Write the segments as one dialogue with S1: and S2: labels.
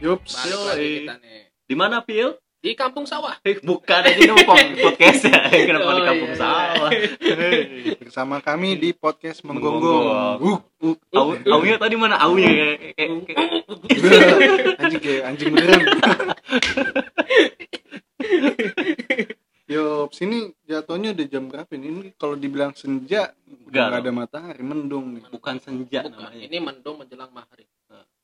S1: Group
S2: Balik lagi kita
S1: Silly.
S2: nih.
S1: Di mana Pil?
S2: Di kampung sawah.
S1: Eh, bukan ini dong podcast ya. Kenapa
S2: Oh,
S1: di kampung
S2: iya, iya.
S1: sawah?
S3: Hei, bersama kami di podcast
S1: Menggonggong.
S3: menggonggong. Wuk, wuk.
S1: Au, ya? Eh, aunya tadi mana aunya? Kayak- kayak- kayak-
S3: anjing kayak anjing beneran. Yo, sini jatuhnya udah jam berapa ini? Ini kalau dibilang senja, udah
S1: Enggak.
S3: nggak ada matahari, mendung nih.
S1: Bukan senja
S2: Bukan,
S1: Ya, namanya.
S2: ini mendung menjelang maghrib.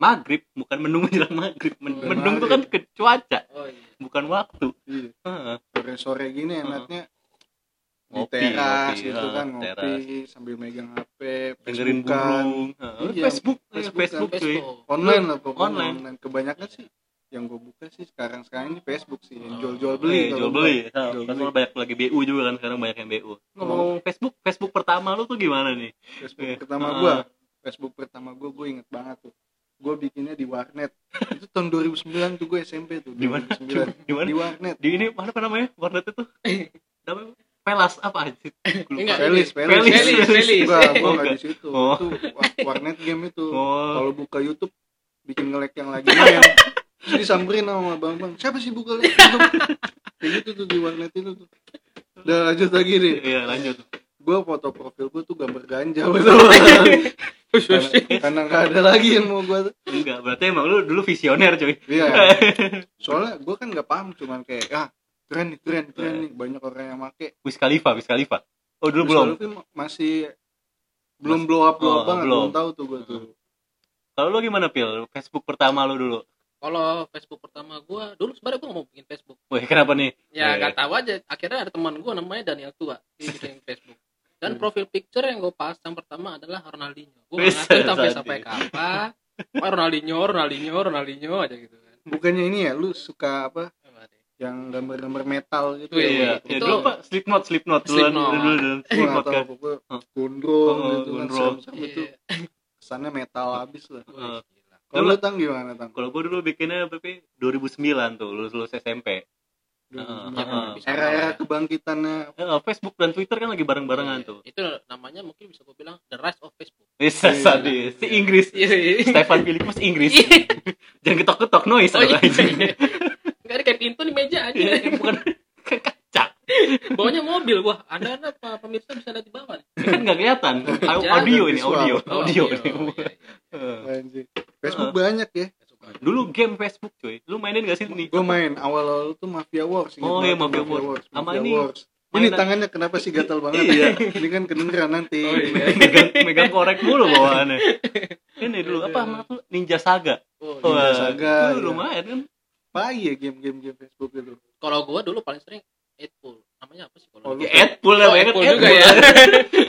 S1: Maghrib, bukan mendung menjelang maghrib. Men-
S2: Bukan
S1: Mendung itu kan
S3: maghrib.
S1: ke cuaca,
S2: Oh iya.
S1: bukan waktu.
S3: Iya,
S1: Heeh.
S3: Sore-sore gini enaknya di
S1: Ngopi,
S3: teras
S1: ngopi,
S3: gitu
S1: ah,
S3: kan ngopi
S1: teras.
S3: sambil megang HP,
S1: dengerin
S3: Facebookan.
S1: burung. Heeh.
S3: Iya,
S1: Facebook, eh,
S3: Facebookan.
S1: Facebook, cuy.
S2: Facebook.
S3: online lah pokoknya
S1: Online.
S3: online. kebanyakan sih yang gue buka sih sekarang sekarang ini Facebook sih
S2: Oh.
S3: jual jual
S1: Beli,
S3: beli kalau
S1: Iya, jual
S3: gua.
S1: beli. Heeh,
S3: Jual
S1: Kan
S3: beli.
S1: banyak lagi BU juga kan sekarang banyak yang BU. Ngomong Facebook, Facebook pertama lu tuh gimana nih?
S3: Facebook
S1: Iya.
S3: pertama
S1: Heeh.
S3: gua Facebook pertama gua gue inget banget tuh gue bikinnya di warnet itu tahun 2009 tuh gue SMP tuh
S1: Di mana?
S3: 2009
S1: Di mana?
S3: di Eh. warnet
S1: Di ini mana apa namanya? Warnet itu. Namanya Pelas apa aja?
S2: Enggak,
S3: Pelis,
S2: ini.
S3: Pelis.
S2: Pelis, Pelis.
S3: Gua gue
S1: Oh,
S3: nggak
S1: enggak.
S3: di situ
S1: Oh.
S3: itu wa- warnet game itu
S1: Oh,
S3: kalau buka YouTube bikin ngelek yang lagi main terus disamperin sama bang bang siapa sih buka lek kayak gitu tuh di warnet itu tuh udah lanjut lagi nih
S1: iya lanjut.
S3: gue foto profil gue tuh gambar ganja betul karena, karena nggak ada lagi yang mau gue
S1: Enggak, berarti emang lu dulu visioner, cuy.
S3: iya soalnya gue kan nggak paham cuman kayak ah keren nih keren keren
S1: Iya.
S3: nih banyak orang yang make
S1: Wiz Khalifa, Wiz Khalifa. Oh, dulu
S3: Terus
S1: belum.
S3: kalau itu masih belum blow up blow up
S1: Oh,
S3: banget
S1: belum.
S3: belum tahu tuh gue tuh
S1: Kalau lu gimana, Pil? Facebook pertama lu dulu.
S2: Kalau Facebook pertama gua dulu sebenarnya gua nggak mau bikin Facebook.
S1: Wih, kenapa nih?
S2: Ya
S1: Eh.
S2: nggak tahu aja. Akhirnya ada teman gua namanya Daniel tua dia bikin Facebook.
S1: Hmm.
S2: Dan profil picture yang gue pasang pertama adalah Ronaldinho. Gue
S1: Bisa
S2: ngerti sampai
S1: jadi.
S2: sampai kapan. Wah Ronaldinho, Ronaldinho, Ronaldinho aja gitu kan.
S3: bukannya ini ya lu suka apa yang gambar-gambar metal gitu
S2: Iya,
S1: Iya,
S3: ya
S1: ya,
S2: itu-
S1: dulu apa? Slipknot, Slipknot. Dulu, dulu,
S2: Slipknot. Iya,
S1: dulu, dulu,
S3: gue
S1: Slipknot
S3: nggak
S1: kan.
S3: tahu gue
S1: Hah.
S3: gondrong
S1: Oh,
S3: gitu kan
S1: gondrong.
S3: serem-serem itu kesannya metal abis lah
S2: Wih, Iya. gila.
S3: kalau
S1: Dulu-
S3: lu tang gimana tang
S1: Kalau Iya, gua dulu bikinnya PP 2009 tuh, lulus lulus SMP.
S2: Ya,
S1: Heeh.
S2: bisa
S3: era-era
S2: namanya.
S3: kebangkitannya
S1: Eh, Facebook dan Twitter kan lagi bareng-barengan
S2: Iya,
S1: tuh.
S2: Itu namanya mungkin bisa gue bilang the rise of Facebook.
S1: Bisa
S3: Iya.
S1: sadis. Si Inggris.
S2: Iya,
S1: Stefan Philippus Inggris. Jangan ketok-ketok noise
S2: Oh, iya.
S1: ada anjing.
S2: Enggak ada kayak pintu di meja aja.
S1: Iya, bukan kan kaca.
S2: Bawahnya mobil. Wah, Anda anda apa pemirsa bisa lihat di bawah. nih.
S1: Kan nggak kelihatan. Au-
S2: Jangan
S1: Audio ini, Eh.
S3: visual.
S1: audio,
S2: Oh,
S1: audio.
S2: iya, iya, iya.
S1: Heeh.
S3: anjir. Facebook banyak ya
S2: Saya suka.
S1: iya. Dulu game Facebook cuy. Lu mainin gak sih ini?
S3: gue main awal-awal tuh Mafia Wars ingat banget
S1: Oh, iya,
S3: tuh
S1: Mafia Wars. Sama
S3: Mafia
S1: ini,
S3: Wars ini
S1: mainan-
S3: tangannya kenapa sih gatal banget
S1: Iya.
S3: ini kan kedengeran nanti
S2: Oh, iya.
S1: megang, megang korek mulu bawaannya. Ini dulu apa nama tuh Ninja Saga.
S3: Iya.
S2: Oh,
S3: Ninja
S1: Wah,
S3: Saga,
S1: itu
S3: iya.
S1: lumayan kan.
S3: apa ya game-game game Facebook itu
S2: Kalau gua dulu paling sering Eightpool. Namanya apa sih
S3: Oh,
S2: kalau?
S3: lu-
S1: Ya, Edpool
S2: Oh,
S1: namanya kan
S2: Eightpool juga
S1: Eightpool.
S2: ya.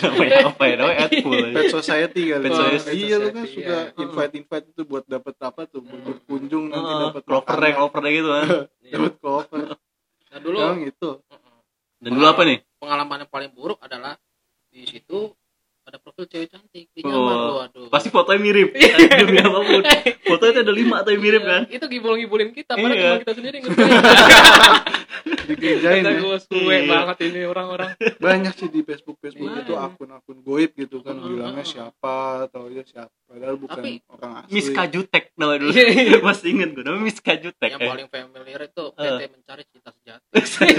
S1: namanya apa ya? Namanya Edpool.
S3: Pet Society kali
S1: Pet
S3: Oh,
S1: Society.
S3: iya lu kan
S2: Iya. Society,
S3: suka
S2: iya.
S3: invite invite itu buat dapet apa tuh buat
S2: Hmm. eh,
S3: berkunjung nanti
S1: Heeh,
S3: dapet
S1: Ah, Clover rank,
S3: makanan,
S1: clover rank gitu kan.
S2: Iya.
S3: dapet gitu? cover
S2: Nah, dulu
S3: yang itu
S2: uh-uh.
S1: Dan dulu apa nih?
S2: pengalaman yang paling buruk adalah di situ ada profil cewek cantik di
S1: Oh,
S2: nyaman waduh
S1: Pasti fotonya mirip.
S3: Iya.
S1: Demi apapun. Fotonya tuh ada lima atau yang mirip kan.
S2: Iya, itu ngibul-ngibulin kita padahal
S1: Iya.
S2: cuma kita sendiri ngerti
S3: dikerjain ya
S2: gue suwe
S1: Iya.
S2: banget ini orang-orang
S3: banyak sih di Facebook Facebook
S2: Iya.
S3: itu akun-akun goib gitu kan
S2: Heeh.
S3: bilangnya siapa atau ya siapa padahal bukan
S2: Tapi-
S3: orang asli
S1: Miss Kajutek namanya dulu.
S2: Iya.
S1: Masih inget gue namanya Miss Kajutek.
S2: yang
S1: ya.
S2: paling familiar itu
S1: Eh.
S2: PT mencari cinta sejati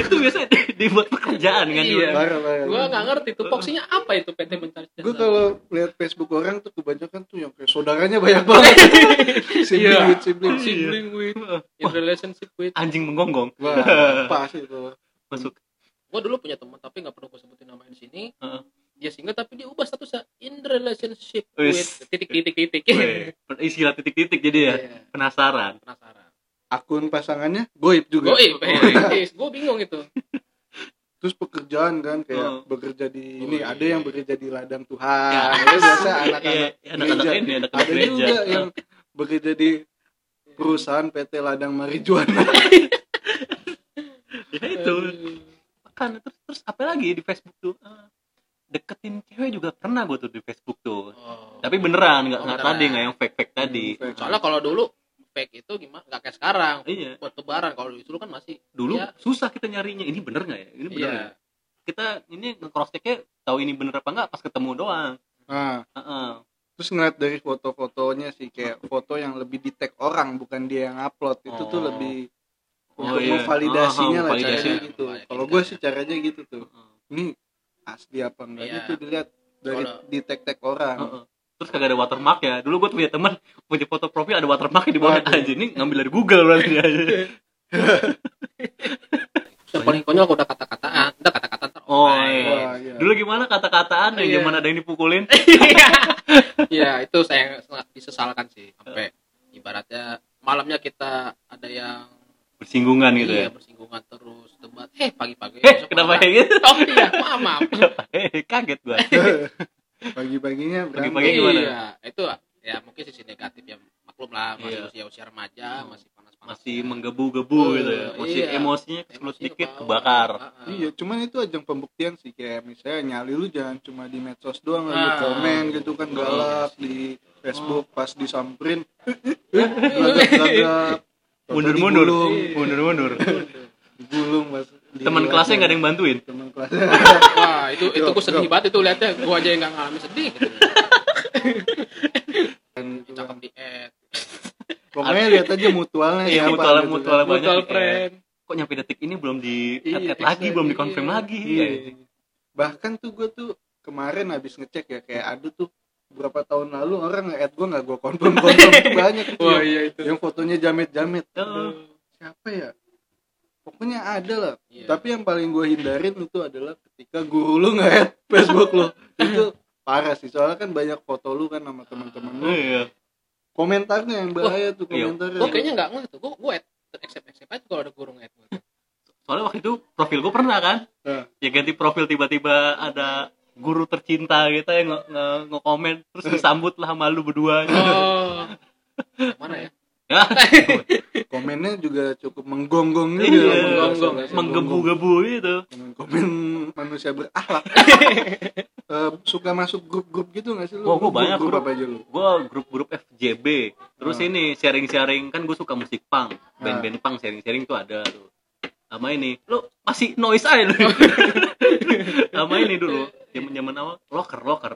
S1: itu biasanya dibuat pekerjaan kan dulu.
S2: Iya.
S3: Parah, parah.
S2: gue nggak ngerti tuh fokusnya apa itu PT mencari
S3: gue
S2: cinta sejati
S3: kalau lihat Facebook orang tuh kebanyakan tuh yang kayak saudaranya banyak banget sibling
S2: Iya.
S3: with sibling
S2: sibling with
S1: Heeh.
S2: in relationship with
S1: Anjing menggonggong
S3: wah pas itu
S1: masuk.
S2: gue dulu punya teman tapi nggak perlu gue sebutin namanya di sini
S1: Heeh.
S2: dia single tapi dia ubah statusnya in relationship
S1: Wis.
S2: with titik-titik-titik
S1: Weh,
S3: Iya.
S1: Istilah titik-titik jadi ya.
S2: Iya,
S1: Penasaran.
S2: penasaran
S3: akun pasangannya goib juga
S2: gue eh, gue bingung itu
S3: terus pekerjaan kan kayak
S1: Oh.
S3: bekerja di ini
S2: Oh,
S3: ada
S2: iya.
S3: yang bekerja di ladang Tuhan itu biasa anak-anak
S1: Iya, anak-anak
S3: gereja.
S1: ini anak-anak
S3: ada
S1: gereja.
S3: juga yang bekerja di perusahaan PT Ladang Marijuana
S1: Ya itu.
S2: Aduh.
S3: Iya.
S1: Kan terus terus apa lagi di Facebook tuh? Eh, Deketin cewek juga pernah gue tuh di Facebook tuh.
S2: Oh.
S1: Tapi beneran nggak ya.
S2: Oh,
S1: nggak
S2: beneran.
S1: tadi nggak yang fake fake tadi.
S3: Fake.
S2: soalnya kalau dulu fake itu gimana nggak kayak sekarang
S1: Iya.
S2: buat lebaran kalau dulu kan masih
S1: Dulu
S2: Iya.
S1: susah kita nyarinya. Ini bener nggak ya? Ini bener. nggak
S2: iya
S1: ya? Kita ini nge cross checknya tahu ini bener apa nggak pas ketemu doang.
S3: nah
S1: Heeh.
S3: terus ngeliat dari foto-fotonya sih kayak foto yang lebih di tag orang bukan dia yang upload itu tuh
S1: Oh.
S3: lebih
S1: Oh,
S3: untuk
S1: iya.
S3: memvalidasinya
S1: Aha,
S3: lah
S1: validasi.
S3: caranya gitu
S2: Validasi.
S3: kalau gue sih caranya gitu tuh
S1: Heeh.
S3: ini asli apa enggaknya
S2: Iya.
S3: tuh dilihat dari
S2: Kalau-
S3: di tag tag orang
S1: Heeh. terus kagak ada watermark ya dulu gue punya teman punya foto profil ada watermark di bawah
S3: Waduh.
S1: aja ini ngambil dari Google berarti ya. dia
S2: yang paling konyol udah kata-kataan udah kata-kataan ter-
S1: oh iya.
S3: Wah, iya.
S1: dulu gimana kata-kataan yang
S2: Iya.
S1: gimana ada yang dipukulin Iya.
S2: ya itu saya sangat disesalkan sih sampai ibaratnya malamnya kita ada yang
S1: bersinggungan gitu
S2: iya,
S1: ya
S2: bersinggungan terus debat eh pagi-pagi
S1: eh
S2: besok
S1: kenapa
S2: malam.
S1: kayak gitu
S2: oh iya maaf maaf
S1: Eh, kaget gue
S3: pagi-paginya
S1: Pagi-pagi
S3: berantem
S1: gimana?
S2: iya itu ya mungkin sisi negatif ya maklum lah masih
S1: Iya.
S2: usia usia remaja
S1: Hmm.
S2: masih ya. panas panas
S1: masih menggebu-gebu gitu ya masih
S2: Iya.
S1: emosinya keselut sedikit kebakar
S3: Iya, cuman itu ajang pembuktian sih kayak misalnya nyali lu jangan cuma di medsos doang lu
S2: Ah.
S3: komen gitu kan
S2: Oh,
S3: galak di
S2: iya sih.
S3: Facebook pas disamperin
S2: Iya.
S3: gelagap-gelagap
S1: mundur-mundur
S3: digulung,
S2: Iya.
S1: mundur-mundur
S3: digulung pas
S1: teman kelasnya nggak ada yang bantuin
S3: teman kelasnya
S2: Wah, itu itu
S3: Yo,
S2: gue
S3: yo.
S2: sedih banget itu liatnya gue aja yang nggak ngalamin sedih gitu. Cakep di ad,
S3: pokoknya lihat aja mutualnya
S1: Iya,
S3: siapa gitu
S1: mutualnya-
S3: kan.
S1: mutualnya banyak
S2: mutual
S1: di ad.
S2: friend.
S1: kok nyampe detik ini belum di
S2: Iya,
S1: tet lagi belum di confirm
S2: iya.
S1: lagi
S3: Iya. bahkan tuh gue tuh kemarin habis ngecek ya kayak aduh tuh berapa tahun lalu orang nge-add gue nggak gue confirm confirm tuh banyak tuh yang-
S2: Wah, iya itu.
S3: yang fotonya jamet-jamet
S1: Heeh.
S3: siapa ya pokoknya ada lah
S2: Iya.
S3: tapi yang paling gue hindarin itu adalah ketika guru lu nge-add Facebook lu itu parah sih soalnya kan banyak foto lu kan sama teman-teman lu
S1: iya
S3: komentarnya yang bahaya tuh
S1: iya.
S3: komentarnya
S2: Gue kayaknya nggak ngeh tuh. Gue gue ad accept accept aja kalau ada guru ngeliat gue.
S1: soalnya waktu itu profil gue pernah kan
S2: Iya.
S3: Heeh.
S1: ya ganti profil tiba-tiba ada guru tercinta gitu yang nge- nge- nge-komen terus disambut lah sama lu berdua
S2: Oh, yang mana ya?
S1: ya
S3: komennya juga cukup menggonggong
S1: Iya,
S3: gitu ya, bahasa-
S2: menggonggong.
S3: bahasa menggonggong.
S1: menggebu-gebu gitu
S3: komen-komen manusia berakhlak Eh, suka masuk grup-grup gitu gak sih lu?
S1: Oh, gua
S3: Lu
S1: banyak
S3: grup,
S1: grup.
S3: apa aja lu?
S1: gue grup-grup FJB terus
S3: Ah.
S1: ini sharing-sharing kan gue suka musik punk band-band punk sharing-sharing tuh ada tuh sama ini lo masih noise aja lu sama ini dulu zaman zaman awal locker locker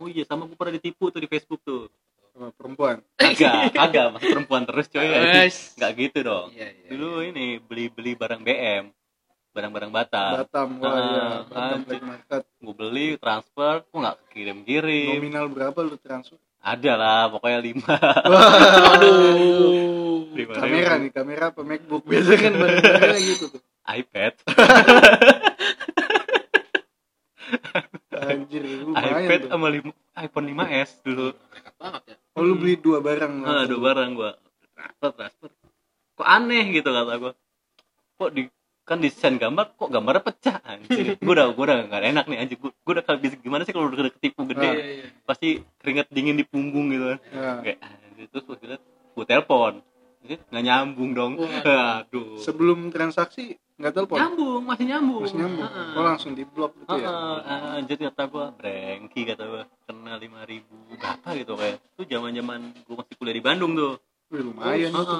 S1: oh iya sama gue pernah ditipu tuh di Facebook tuh
S3: Sama perempuan
S1: kagak kagak mas perempuan terus coy ya,
S2: Yes.
S1: nggak gitu dong
S2: Iya, iya.
S1: dulu ini beli beli barang BM barang-barang batal
S3: Batam wah
S1: Ah,
S3: iya Batam
S1: anjing.
S3: black market
S1: gue beli transfer gue nggak kirim kirim
S3: nominal berapa lu transfer
S1: ada lah pokoknya lima
S2: Aduh.
S1: Lima
S3: kamera
S1: ribu.
S3: nih kamera apa MacBook biasanya kan barang-barangnya gitu tuh
S1: iPad
S3: anjir lumayan
S1: iPad
S3: tuh
S1: sama lima, iPhone 5s dulu
S2: Nekat banget ya.
S1: Ah.
S3: oh, lu beli dua barang
S1: nah,
S3: langsung.
S1: dua barang gue transfer transfer kok aneh gitu kata gue kok di kan desain gambar kok gambarnya pecah anjir gue udah gue udah nggak enak nih anjir gue udah kalau bisa gimana sih kalau udah ketipu
S2: Iya,
S1: gede
S2: iya, iya.
S1: pasti keringet dingin di punggung gitu kan
S3: Nah,
S1: kayak anjir terus gue liat gue telepon Ini nggak nyambung dong
S2: Waduh.
S1: aduh
S3: sebelum transaksi nggak telepon
S1: nyambung masih nyambung Ah,
S3: Mas nyambung
S1: Heeh.
S3: oh langsung di blok gitu
S1: Heeh,
S3: ya
S1: ah, jadi kata gua brengki kata gua kena lima ribu berapa gitu kayak itu zaman zaman gua masih kuliah di Bandung tuh
S3: Wih, lumayan
S1: Heeh.
S3: tuh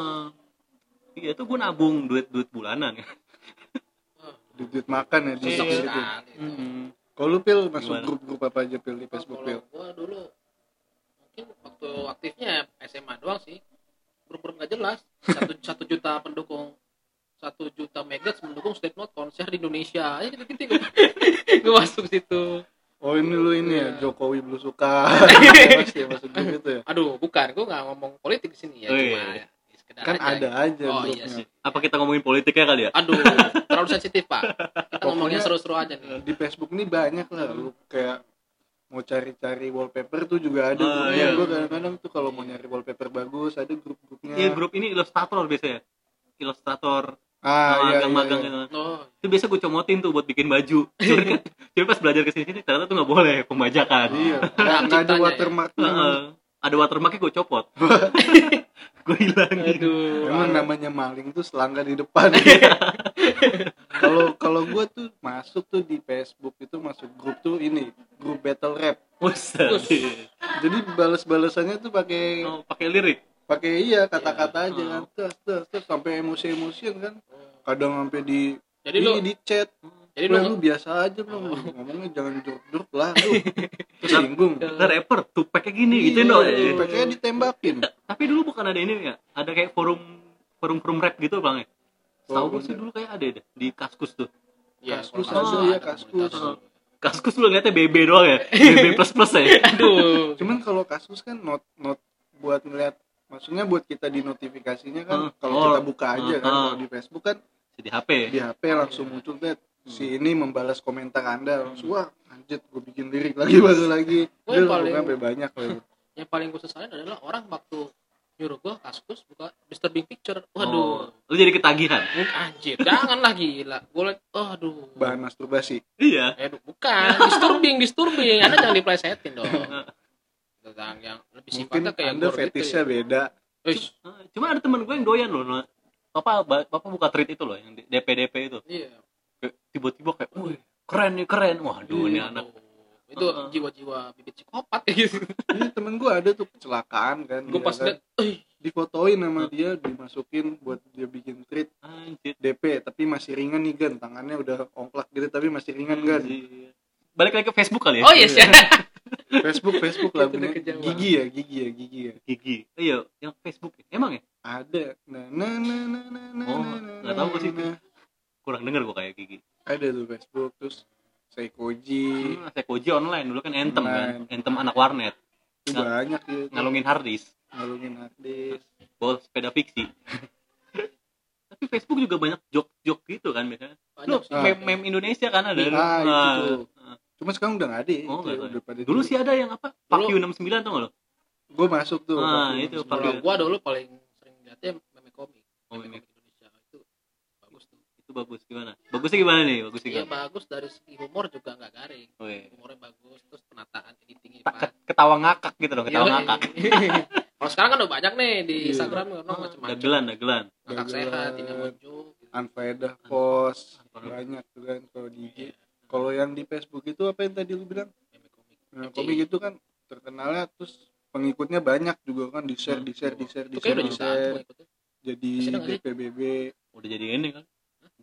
S1: iya tuh gua nabung duit duit bulanan
S3: duit, duit makan ya di
S2: Susah
S1: Iya.
S3: situ
S2: sekali. itu.
S1: Mm-mm.
S3: kalau lu pil masuk
S1: Gimana?
S3: grup-grup apa aja pil di Facebook pil
S2: Kalau gue dulu mungkin waktu aktifnya SMA doang sih. Grup-grup nggak jelas. Satu, satu juta pendukung satu juta megas mendukung Slipknot konser di Indonesia. Ya gitu-gitu gue, gue masuk situ.
S3: oh ini lu ini ya
S2: Iya.
S3: Jokowi belusukan pasti ya masuk grup itu ya
S2: Aduh, bukan. Gue nggak ngomong politik di sini ya.
S1: Oh,
S2: Cuma
S1: iya.
S2: ya, sekedar
S3: kan ada
S2: aja.
S3: aja
S2: Oh,
S3: grupnya
S2: iya sih.
S1: apa kita ngomongin politiknya kali ya
S2: Aduh, terlalu sensitif pak. Kita ngomongnya
S3: Pokoknya-
S2: seru-seru aja nih.
S3: di Facebook ini banyak lah lu kayak mau cari-cari wallpaper tuh juga ada
S1: Oh,
S3: grupnya
S1: iya.
S3: gue kadang-kadang tuh kalau mau nyari wallpaper bagus ada grup-grupnya
S1: iya grup ini ilustrator biasanya ilustrator
S3: ah iya, iya,
S1: magang-magang
S3: iya.
S1: gitu.
S2: Oh,
S1: itu biasa gua comotin tuh buat bikin baju jadi kan jadi pas belajar kesini sini ternyata tuh nggak boleh pembajakan
S3: iya
S2: Nah,
S3: nggak nggak ada
S2: ciptanya ya.
S3: watermark
S1: iya. Heeh. ada watermarknya gue copot
S2: Oh,
S1: gue hilangin
S2: aduh.
S3: Emang namanya maling tuh selangga di depan.
S1: Iya.
S3: Kalau kalau gue tuh masuk tuh di Facebook itu masuk grup tuh ini grup battle rap.
S1: Buset.
S3: Jadi balas-balasannya tuh pakai
S1: Oh, pakai lirik
S3: pakai iya kata-kata aja
S1: Iya.
S3: kan terus terus terus sampai emosi-emosian kan. Kadang sampai di
S2: Jadi
S3: di,
S2: lu
S3: di chat
S2: jadi
S3: Lu
S2: lu
S3: lu biasa aja lu
S2: Oh.
S3: ngomongnya jangan jorok-jorok lah lu. Tersinggung.
S1: Nah, rapper tupeknya gini gitu dong.
S3: Iya, Tupeknya ditembakin.
S1: Tapi dulu bukan ada ini ya, ada kayak forum forum forum rap gitu bang ya. Tahu gue sih dulu kayak ada deh di kaskus tuh.
S2: ya,
S3: kaskus
S2: kalau
S1: aja,
S2: nggak
S3: ya,
S2: ada
S3: kaskus.
S2: komunitas.
S1: Kaskus lu liatnya BB doang ya, BB plus plus ya.
S2: aduh
S3: Cuman kalau kasus kan not not buat ngeliat maksudnya buat kita di notifikasinya kan
S1: Hmm.
S3: kalau
S1: Oh.
S3: kita buka aja kan
S1: Hmm.
S3: kalau di Facebook kan
S1: Di HP.
S3: di HP
S2: Iya.
S3: langsung muncul deh
S2: Hmm.
S3: si ini membalas komentar anda langsung wah anjir gue bikin lirik lagi baru lagi
S2: Gua
S3: gue
S2: yang Iya. paling-
S3: sampai banyak loh
S2: yang paling gue sesalin adalah orang waktu nyuruh gue kaskus buka disturbing picture waduh
S1: Oh, lu jadi ketagihan.
S2: anjir jangan lah gila gue lagi aduh
S3: bahan masturbasi
S1: Iya.
S2: Eh, du- bukan disturbing disturbing anda jangan diplesetin dong tentang yang lebih
S3: mungkin
S2: sifatnya kayak
S3: anda
S2: gore gitu
S3: fetishnya
S2: ya.
S3: beda
S2: Wih,
S1: Eh, Cuma ada temen gue yang doyan loh. Noah. Bapak ba- bapak buka tweet itu loh yang DP DP itu.
S2: iya
S1: Kayak Tiba-tiba kayak, wih keren nih keren. Waduh ini
S2: Iya,
S1: anak.
S2: tuh. itu
S1: Heeh.
S2: jiwa-jiwa bibit psikopat kayak gitu
S3: ini Iya, temen gue ada tuh kecelakaan kan
S2: gue
S3: dia
S2: pas
S1: Iya,
S3: kan.
S2: liat eh
S3: difotoin sama dia dimasukin buat dia bikin treat
S1: Anjir.
S3: DP tapi masih ringan nih gan tangannya udah ongklak gitu tapi masih ringan
S1: Hmm,
S3: gan
S1: Anjir. Balik lagi ke Facebook kali ya.
S2: oh yes ya
S3: Facebook Facebook lah
S2: Itu udah
S3: bener.
S2: kejauhan.
S3: gigi ya gigi ya gigi ya
S1: Gigi. Iya, yang Facebook. ya? Emang ya?
S3: ada nah nah nah nah nah nah
S1: Oh,
S3: nah,
S1: nggak
S3: nah,
S1: tahu gua sih.
S3: nah.
S1: Kurang denger gue kayak Gigi.
S3: ada tuh Facebook terus Seikoji
S1: Hmm, Sekoji online dulu kan Anthem
S3: Online.
S1: kan. Anthem anak warnet.
S3: itu banyak ya
S1: Ngalungin harddisk.
S3: ngalungin artis
S1: Bawa sepeda fiksi. Tapi Facebook juga banyak jok-jok gitu kan biasanya.
S2: Banyak
S1: Lu
S2: ah. sih.
S1: meme, meme Indonesia kan ada.
S3: Ah, itu
S1: Ah,
S3: tuh. cuma sekarang udah nggak ada ya, itu
S1: Oh,
S3: ya,
S1: nggak ada.
S3: udah pada
S1: Dulu sih ada yang apa? Fuck
S2: Dulu-
S1: you 69 tau gak lo?
S3: gue masuk tuh
S1: Ah,
S3: waktu
S1: itu,
S3: masuk.
S2: kalau
S1: Parah.
S2: gue dulu paling sering liatnya meme komik
S1: Oh,
S2: meme
S1: meme.
S2: komik Indonesia itu bagus tuh
S1: Itu bagus gimana? Bagusnya gimana nih? Bagusnya
S2: Iya
S1: gimana?
S2: bagus dari segi humor juga nggak garing.
S1: Weh.
S2: Humornya bagus, terus penataan editingnya
S1: Tak-
S2: pas.
S1: ke- Ketawa ngakak gitu dong, ketawa
S2: Iya.
S1: ngakak.
S2: Kalau sekarang kan udah banyak nih di
S3: Iya.
S2: Instagram kan orang macam-macam.
S1: Dagelan, dagelan.
S2: Kakak
S3: Dagelan.
S2: sehat, ini gitu. muncul.
S3: Unfaedah post
S1: Unfaedah.
S3: banyak tuh kan kalau di IG kalau yang di Facebook itu apa yang tadi lu bilang
S2: Iya, Meme komik.
S3: nah,
S2: Iya.
S3: komik itu kan terkenalnya terus pengikutnya banyak juga kan di share di share di share di
S2: Hmm. Itu
S3: share,
S2: kayak
S3: di
S2: udah jutaan tuh
S3: share
S2: ngikutin.
S3: jadi
S2: Masih ada nggak sih?
S3: DPBB
S1: Udah jadi ini kan.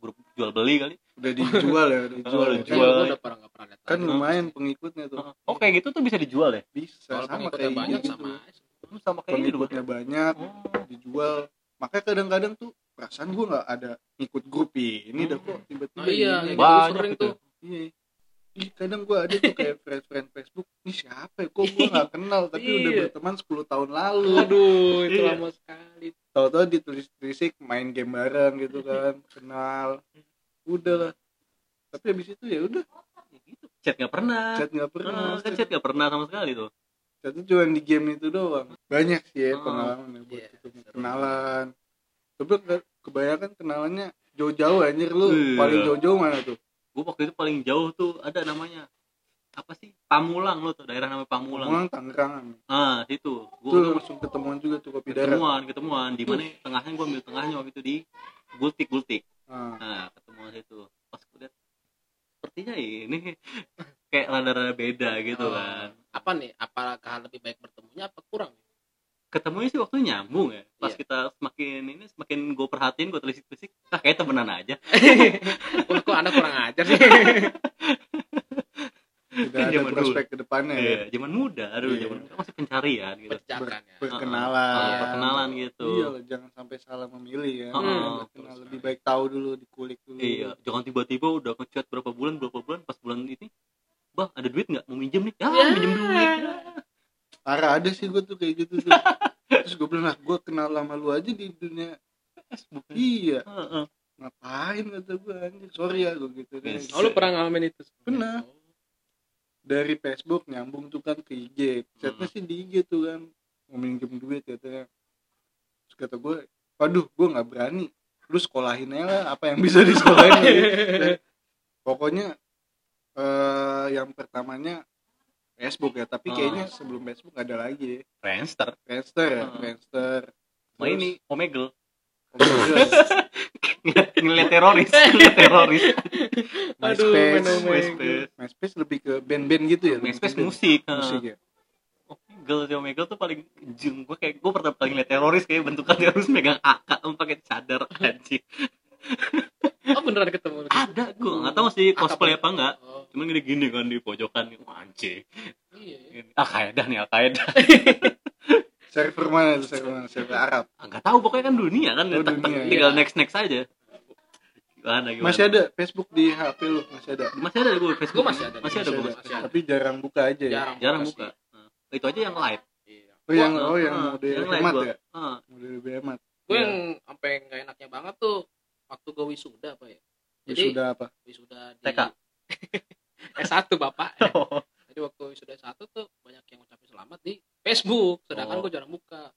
S1: Grup jual beli kali.
S3: udah dijual ya udah dijual
S1: Oh,
S3: ya.
S2: Tapi
S1: Jual.
S2: gua udah Hmm. pernah nggak pernah lihat.
S3: kan
S2: lagi.
S3: lumayan pengikutnya tuh
S1: Oh, kayak gitu tuh bisa dijual ya?
S3: bisa
S2: Kalau
S3: sama
S2: pengikutnya
S3: kayak
S2: banyak
S3: gitu
S2: sama. aja.
S1: Lu sama kayak ini dulu.
S3: pengikutnya banyak
S1: Oh.
S3: dijual makanya kadang-kadang tuh perasaan gua nggak ada ikut grup ini dah kok
S2: Oh
S3: tiba-tiba
S2: iya,
S3: ini.
S2: yang
S1: Banyak
S2: dulu sering
S1: gitu.
S2: tuh.
S3: Iya. Ih, kadang gue ada tuh kayak friend-friend Facebook, ini siapa ya? Kok gue gak kenal, tapi udah
S2: Iya.
S3: berteman 10 tahun lalu.
S2: Aduh, itu
S1: Iya.
S2: lama sekali.
S3: Tahu-tahu ditulis-tulisik main game bareng gitu kan, kenal. Udah lah. Tapi habis itu ya udah,
S1: Ya gitu. Chat nggak pernah.
S3: chat gak
S1: Ah,
S3: pernah.
S1: kan chat nggak pernah sama sekali tuh.
S3: Chatnya cuma di game itu doang. Banyak sih ya
S1: Oh,
S3: pengalaman ya buat
S2: iya.
S3: itu. kenalan. Tapi ke- kebanyakan kenalannya jauh-jauh anjir lu.
S1: Iya.
S3: Paling jauh-jauh mana tuh?
S1: Gue waktu itu paling jauh tuh ada namanya apa sih Pamulang lo tuh daerah namanya Pamulang.
S3: Pulang Tangerang.
S1: Ah situ.
S3: Itu
S1: Gue
S3: langsung ketemuan juga tuh kopi darat.
S1: ketemuan ketemuan di mana tengahnya gue ambil tengahnya waktu itu di gultik gultik.
S3: Ah.
S1: Nah ketemuan situ. Pas gue liat sepertinya ini kayak rada-rada beda
S2: Oh.
S1: gitu kan.
S2: Apa nih? Apakah lebih baik bertemunya apa kurang?
S1: Ketemunya sih waktu nyambung ya. Pas
S2: Iya.
S1: kita semakin ini semakin gue perhatiin gue telisik-telisik, ah kayak temenan aja.
S2: Wah, kok Anda kurang ajar sih?
S3: Tidak
S1: Kan
S3: ada
S1: zaman dulu.
S3: prospek ke depannya ya.
S1: Iya, zaman muda, aduh
S3: Iya.
S1: zaman muda masih pencarian gitu.
S2: Pecakan ya.
S3: berkenalan
S1: Ah, perkenalan gitu.
S3: iya lah, jangan sampai salah memilih ya
S1: Ah,
S3: Jangan
S1: betul
S3: berkenal.
S2: sekali.
S3: lebih baik tahu dulu dikulik dulu
S1: Iya, jangan tiba-tiba udah ngechat berapa bulan berapa bulan pas bulan ini, bah ada duit nggak mau minjem nih? Ah, minjem duit.
S3: parah ada sih gue tuh kayak gitu tuh terus gue bilang lah gue kenal sama lu aja di dunia
S1: Facebook.
S3: iya
S1: Heeh.
S3: ngapain kata gue anjir sorry ya gue gitu deh.
S1: Yes.
S2: Oh, lu pernah ngalamin itu?
S3: Pernah. dari Facebook nyambung tuh kan ke IG chatnya sih di IG tuh kan mau minjem duit katanya terus kata gue waduh gue nggak berani lu sekolahin aja lah apa yang bisa disekolahin gitu.
S1: Iya.
S3: Dan pokoknya eh yang pertamanya Facebook ya tapi
S1: Ah.
S3: kayaknya sebelum Facebook ada lagi ya.
S1: Friendster.
S3: Friendster ya
S1: Ah.
S3: Friendster
S1: Sama
S3: Terus-
S1: ini Omegle.
S3: Oh my God.
S1: Ngeliat- Ngeliat teroris, ngeliat teroris.
S2: Aduh,
S3: MySpace
S2: main Omegle.
S1: MySpace.
S3: MySpace lebih ke band-band gitu ya
S1: MySpace
S3: band-band.
S1: musik. Heeh.
S3: musik ya
S1: Omegle sih Omegle tuh paling jeng gue kayak gue pertama kali ngeliat teroris kayak bentukan teroris megang AK em pakai cadar anjing.
S2: Oh, beneran ketemu.
S1: Ada gue nggak tahu sih ngerti Ah, cosplay apa enggak
S2: Oh,
S1: cuman gini gini kan di pojokan anjing
S2: iya.
S1: Al-Qaeda nih Al-Qaeda
S3: server mana itu server mana server Arab
S1: Ah, nggak tahu pokoknya kan dunia kan
S3: Oh,
S1: Tek- tek-
S3: dunia,
S1: tinggal
S2: iya.
S1: next next aja gimana gimana
S3: masih ada Facebook di HP lu masih ada
S1: masih ada gue Facebook
S2: Gua masih ada.
S1: masih ada
S2: Masih
S1: gue
S2: ada. Masih ada.
S3: tapi jarang buka aja ya
S2: Jarang,
S1: jarang
S2: sih.
S1: buka Nah, itu aja yang live
S2: Iya.
S3: oh yang
S1: Gua-
S3: oh yang
S1: ah,
S3: mode
S1: yang lain
S3: hemat
S1: gua.
S3: ya
S1: Ah,
S3: mode hemat
S2: Gue
S1: Iya.
S2: yang sampai nggak enaknya banget tuh waktu gue wisuda apa ya? Jadi
S3: sudah apa
S2: wisuda di
S1: TK.
S2: S1 Bapak.
S1: eh,
S2: Jadi waktu wisuda S1 tuh banyak yang ngucapin selamat di Facebook, sedangkan
S1: Oh.
S2: gue jarang buka.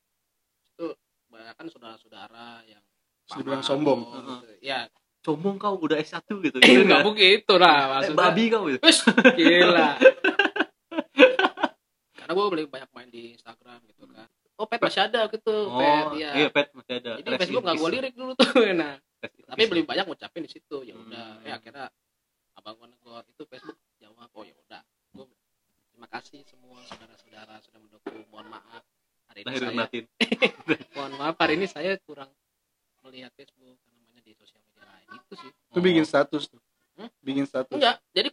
S2: Itu banyak kan saudara-saudara yang
S3: Terus dibilang
S2: paham,
S3: sombong.
S2: gitu. Ya,
S1: sombong kau udah S1
S2: itu
S1: gitu Gitu
S2: Eh, nggak
S1: kan?
S2: begitu lah
S1: Eh, Eh,
S2: maksudnya.
S1: babi kau gitu
S2: Wes, gila. Karena gue beli banyak main di Instagram gitu kan. Oh, pet masih ada gitu, pet
S1: Hmm. oh
S2: ya.
S1: iya pet masih ada
S2: Jadi
S1: Rest
S2: Facebook
S1: in
S2: nggak gue
S1: peace.
S2: lirik dulu tuh. Nah,
S1: Rest in
S2: tapi
S1: peace.
S2: beli banyak ngucapin di situ. Ya udah,
S1: Iya. Hmm.
S2: ya akhirnya abang gue negor itu Facebook jawab, oh ya udah. Gue terima kasih semua saudara-saudara sudah mendukung. Mohon maaf hari ini
S1: lahir dan
S2: saya,
S1: batin
S2: mohon maaf hari ini saya kurang melihat Facebook namanya di sosial media lain itu sih.
S3: lu bikin status tuh
S2: Hmm?
S3: bikin status
S2: Enggak, jadi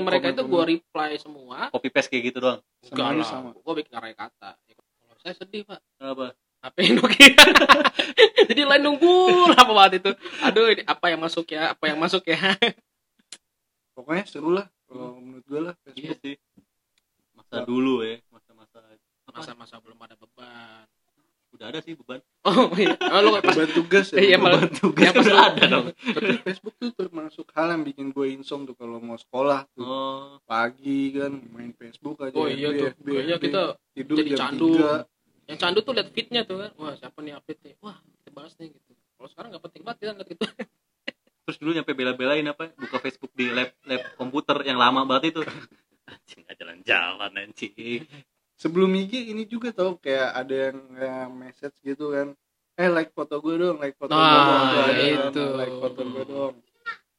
S3: Oh, lu
S2: mereka itu gue
S3: komen-komen.
S2: reply semua.
S1: copy paste kayak gitu doang
S2: Enggak
S3: Semuanya
S2: lah,
S3: sama.
S2: gue bikin arah kata. Ya, Kalau saya sedih pak,
S1: kenapa
S2: apa yang Nokia? Jadi lain nunggu lama banget itu. Aduh, ini apa yang masuk ya? Apa yang masuk ya?
S3: pokoknya seru lah
S2: Hmm.
S3: kalau menurut gue lah
S1: iya
S3: Facebook
S1: sih masa dulu ya masa-masa apa?
S2: Masa-masa belum ada beban.
S1: udah ada sih beban
S2: Oh iya, oh, lu pas
S3: beban tugas ya
S2: Iya, malah-
S1: beban tugas
S2: Iya, pas
S1: udah
S2: lu-
S1: ada dong
S3: tapi Facebook tuh termasuk hal yang bikin gue insomnia tuh kalau mau sekolah tuh
S1: oh
S3: pagi kan main Facebook aja ya,
S2: Hmm. Oh iya
S3: FB,
S2: tuh,
S3: FB,
S2: kayaknya
S3: FB.
S2: kita
S3: tidur
S2: jadi
S3: jam
S2: candu.
S3: 3
S2: yang candu tuh lihat fitnya tuh kan. Wah, siapa nih update nih? Wah, kita balas nih gitu. Kalau sekarang nggak penting banget kita ngeliat gitu.
S1: terus dulu nyampe bela-belain apa buka Facebook di lab lab komputer yang lama banget itu anjing nggak jalan-jalan anjing
S3: sebelum IG ini juga tau kayak ada yang eh, message gitu kan eh like foto gue dong like foto
S2: Nah,
S3: gue dong Tuh ada kan,
S2: itu.
S3: like foto gue dong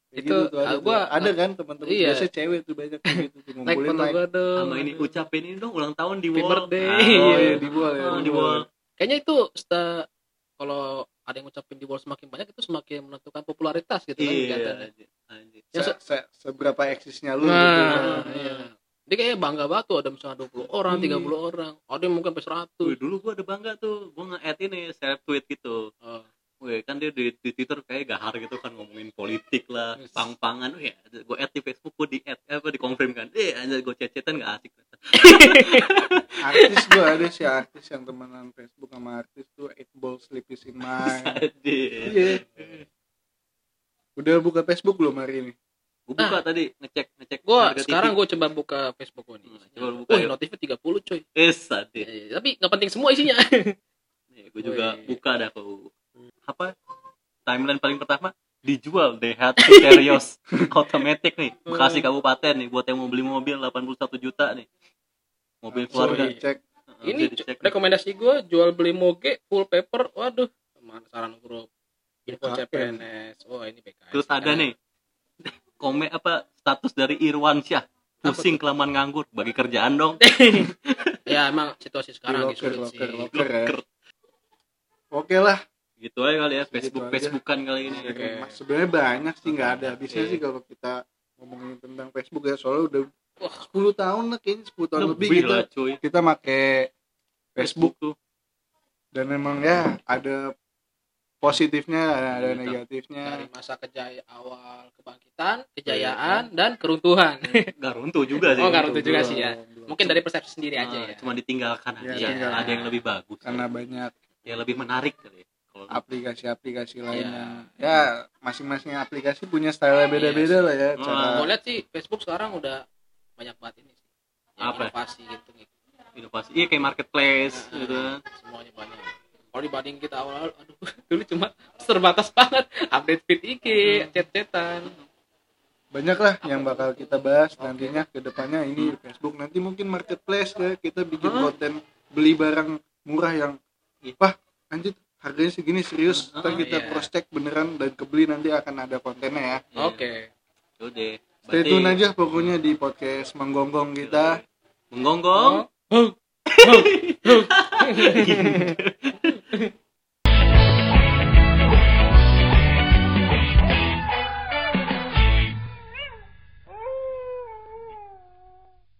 S3: Kayak gitu
S2: Itu,
S3: tuh ada,
S2: ah,
S3: tuh.
S2: gua-
S3: ada kan teman-teman
S2: iya.
S3: biasanya cewek tuh banyak kayak gitu tuh
S2: Like
S3: ngumpulin
S2: foto
S3: like
S2: gue dong.
S1: sama ini ucapin ini dong ulang tahun di
S2: Happy
S1: wall
S2: birthday.
S3: oh
S1: oh,
S3: iya
S1: iya.
S3: di wall ya
S1: Oh,
S2: Ah,
S1: di wall
S2: Kayaknya itu seta- kalau ada yang ngucapin di wall semakin banyak itu semakin menentukan popularitas gitu kan
S1: iya
S2: kelihatannya.
S1: anjing. Anjing.
S2: Ya,
S3: Se-
S2: se-
S3: se- seberapa eksisnya lu gitu kan.
S2: Nah, iya. Dia kayaknya bangga banget tuh ada misalnya 20 orang,
S1: Hmm.
S3: Iya.
S2: 30 orang. Ada yang mungkin sampai 100.
S1: Wih, dulu gua ada bangga tuh gua nge-add ini seleb tweet gitu
S2: Oh.
S1: Wih, kan dia di, di Twitter kayak gahar gitu kan ngomongin politik lah,
S2: Yes.
S1: pang-pangan. Wih, gue add di Facebook, gue di add, eh, apa di confirm kan. Eh, anjir gue cecetan gak asik.
S2: Iya.
S3: artis gue ada sih artis yang temenan Facebook sama artis tuh eight ball sleep is in my
S1: Jadi,
S3: iya udah buka Facebook belum hari ini
S1: gue buka tadi ngecek ngecek.
S2: Gue
S1: harga
S2: Nah. sekarang
S1: TV.
S2: gue coba buka Facebook gue nih.
S1: Hmm, coba lu buka,
S2: Wih,
S1: yuk.
S2: notifnya 30 coy.
S1: Eh, sadis.
S2: Eh, tapi nggak penting semua isinya.
S1: Nih, gue Iya, juga
S2: Wih. Hmm.
S1: buka dah kau. Apa? Timeline paling pertama dijual DHT Terios automatic nih Bekasi
S2: Hmm.
S1: Kabupaten nih buat yang mau beli mobil 81 juta nih mobil
S3: Langsung
S1: keluarga
S3: dicek
S1: Heeh,
S2: Ini
S1: Nah, bisa dicek.
S2: rekomendasi gue jual beli moge full paper. Waduh, mana saran grup. Info
S3: BKN.
S2: CPNS. Oh, ini BKS.
S1: Terus ada nih komen apa status dari Irwan Syah
S2: Apa
S1: pusing kelamaan nganggur bagi kerjaan dong.
S2: ya emang situasi
S3: di
S2: sekarang lagi
S3: locker
S2: sulit sih.
S3: locker locker ya
S1: Locker.
S3: oke lah
S1: Gitu aja kali ya
S3: Gitu
S1: Facebook
S3: aja.
S1: Facebookan kali ini.
S2: Oke.
S3: Mas, sebenarnya banyak sih nggak ada habisnya
S2: Iya.
S3: sih kalau kita ngomongin tentang Facebook ya soalnya udah
S2: Wah.
S3: 10 tahun lah kayaknya 10 tahun lebih,
S1: Lebih
S3: kita
S2: gitu.
S1: lah cuy.
S3: kita make Facebook
S1: tuh.
S3: dan memang ya ada positifnya ada, ada
S1: Iya.
S3: negatifnya
S2: Dari masa kejayaan awal
S1: Iya,
S2: kebangkitan, kejayaan dan keruntuhan.
S1: Gak runtuh juga sih.
S2: Oh, nggak runtuh juga
S3: Belum,
S2: sih ya.
S3: belum.
S2: Mungkin dari persepsi sendiri
S1: Ah,
S2: aja ya. Iya,
S1: Cuma ditinggalkan
S3: Ya,
S1: aja.
S3: tinggalkan.
S1: Ada yang lebih bagus.
S3: karena banyak
S1: Yang lebih menarik kali. ya. Kalau
S3: aplikasi-aplikasi lain
S2: Iya.
S3: yang ya masing-masing aplikasi punya style beda-beda lah ya
S1: Oh.
S3: cara
S2: Gue lihat iya sih Facebook sekarang udah banyak banget ini sih. Yang
S1: Apa?
S2: Inovasi gitu.
S1: inovasi. Iya kayak marketplace gitu. kan.
S2: Semuanya banyak. Kalau dibanding kita awal-awal, aduh, dulu cuma terbatas banget update feed IG,
S1: Hmm.
S2: chat-chatan.
S3: banyak lah yang bakal kita bahas nantinya ke depannya ini
S2: Hmm.
S3: di Facebook nanti mungkin marketplace ya kita bikin
S1: Hah?
S3: konten beli barang murah yang
S1: Iya.
S3: wah anjir harganya segini serius
S1: Heeh,
S3: ntar kita
S2: iya.
S3: cross check beneran dan kebeli nanti akan ada kontennya ya
S1: Iya.
S2: Oke.
S1: Yaudah.
S3: stay
S1: Berarti-
S3: tune aja pokoknya di podcast menggonggong kita
S2: Oh.
S1: Menggonggong.
S2: Oh.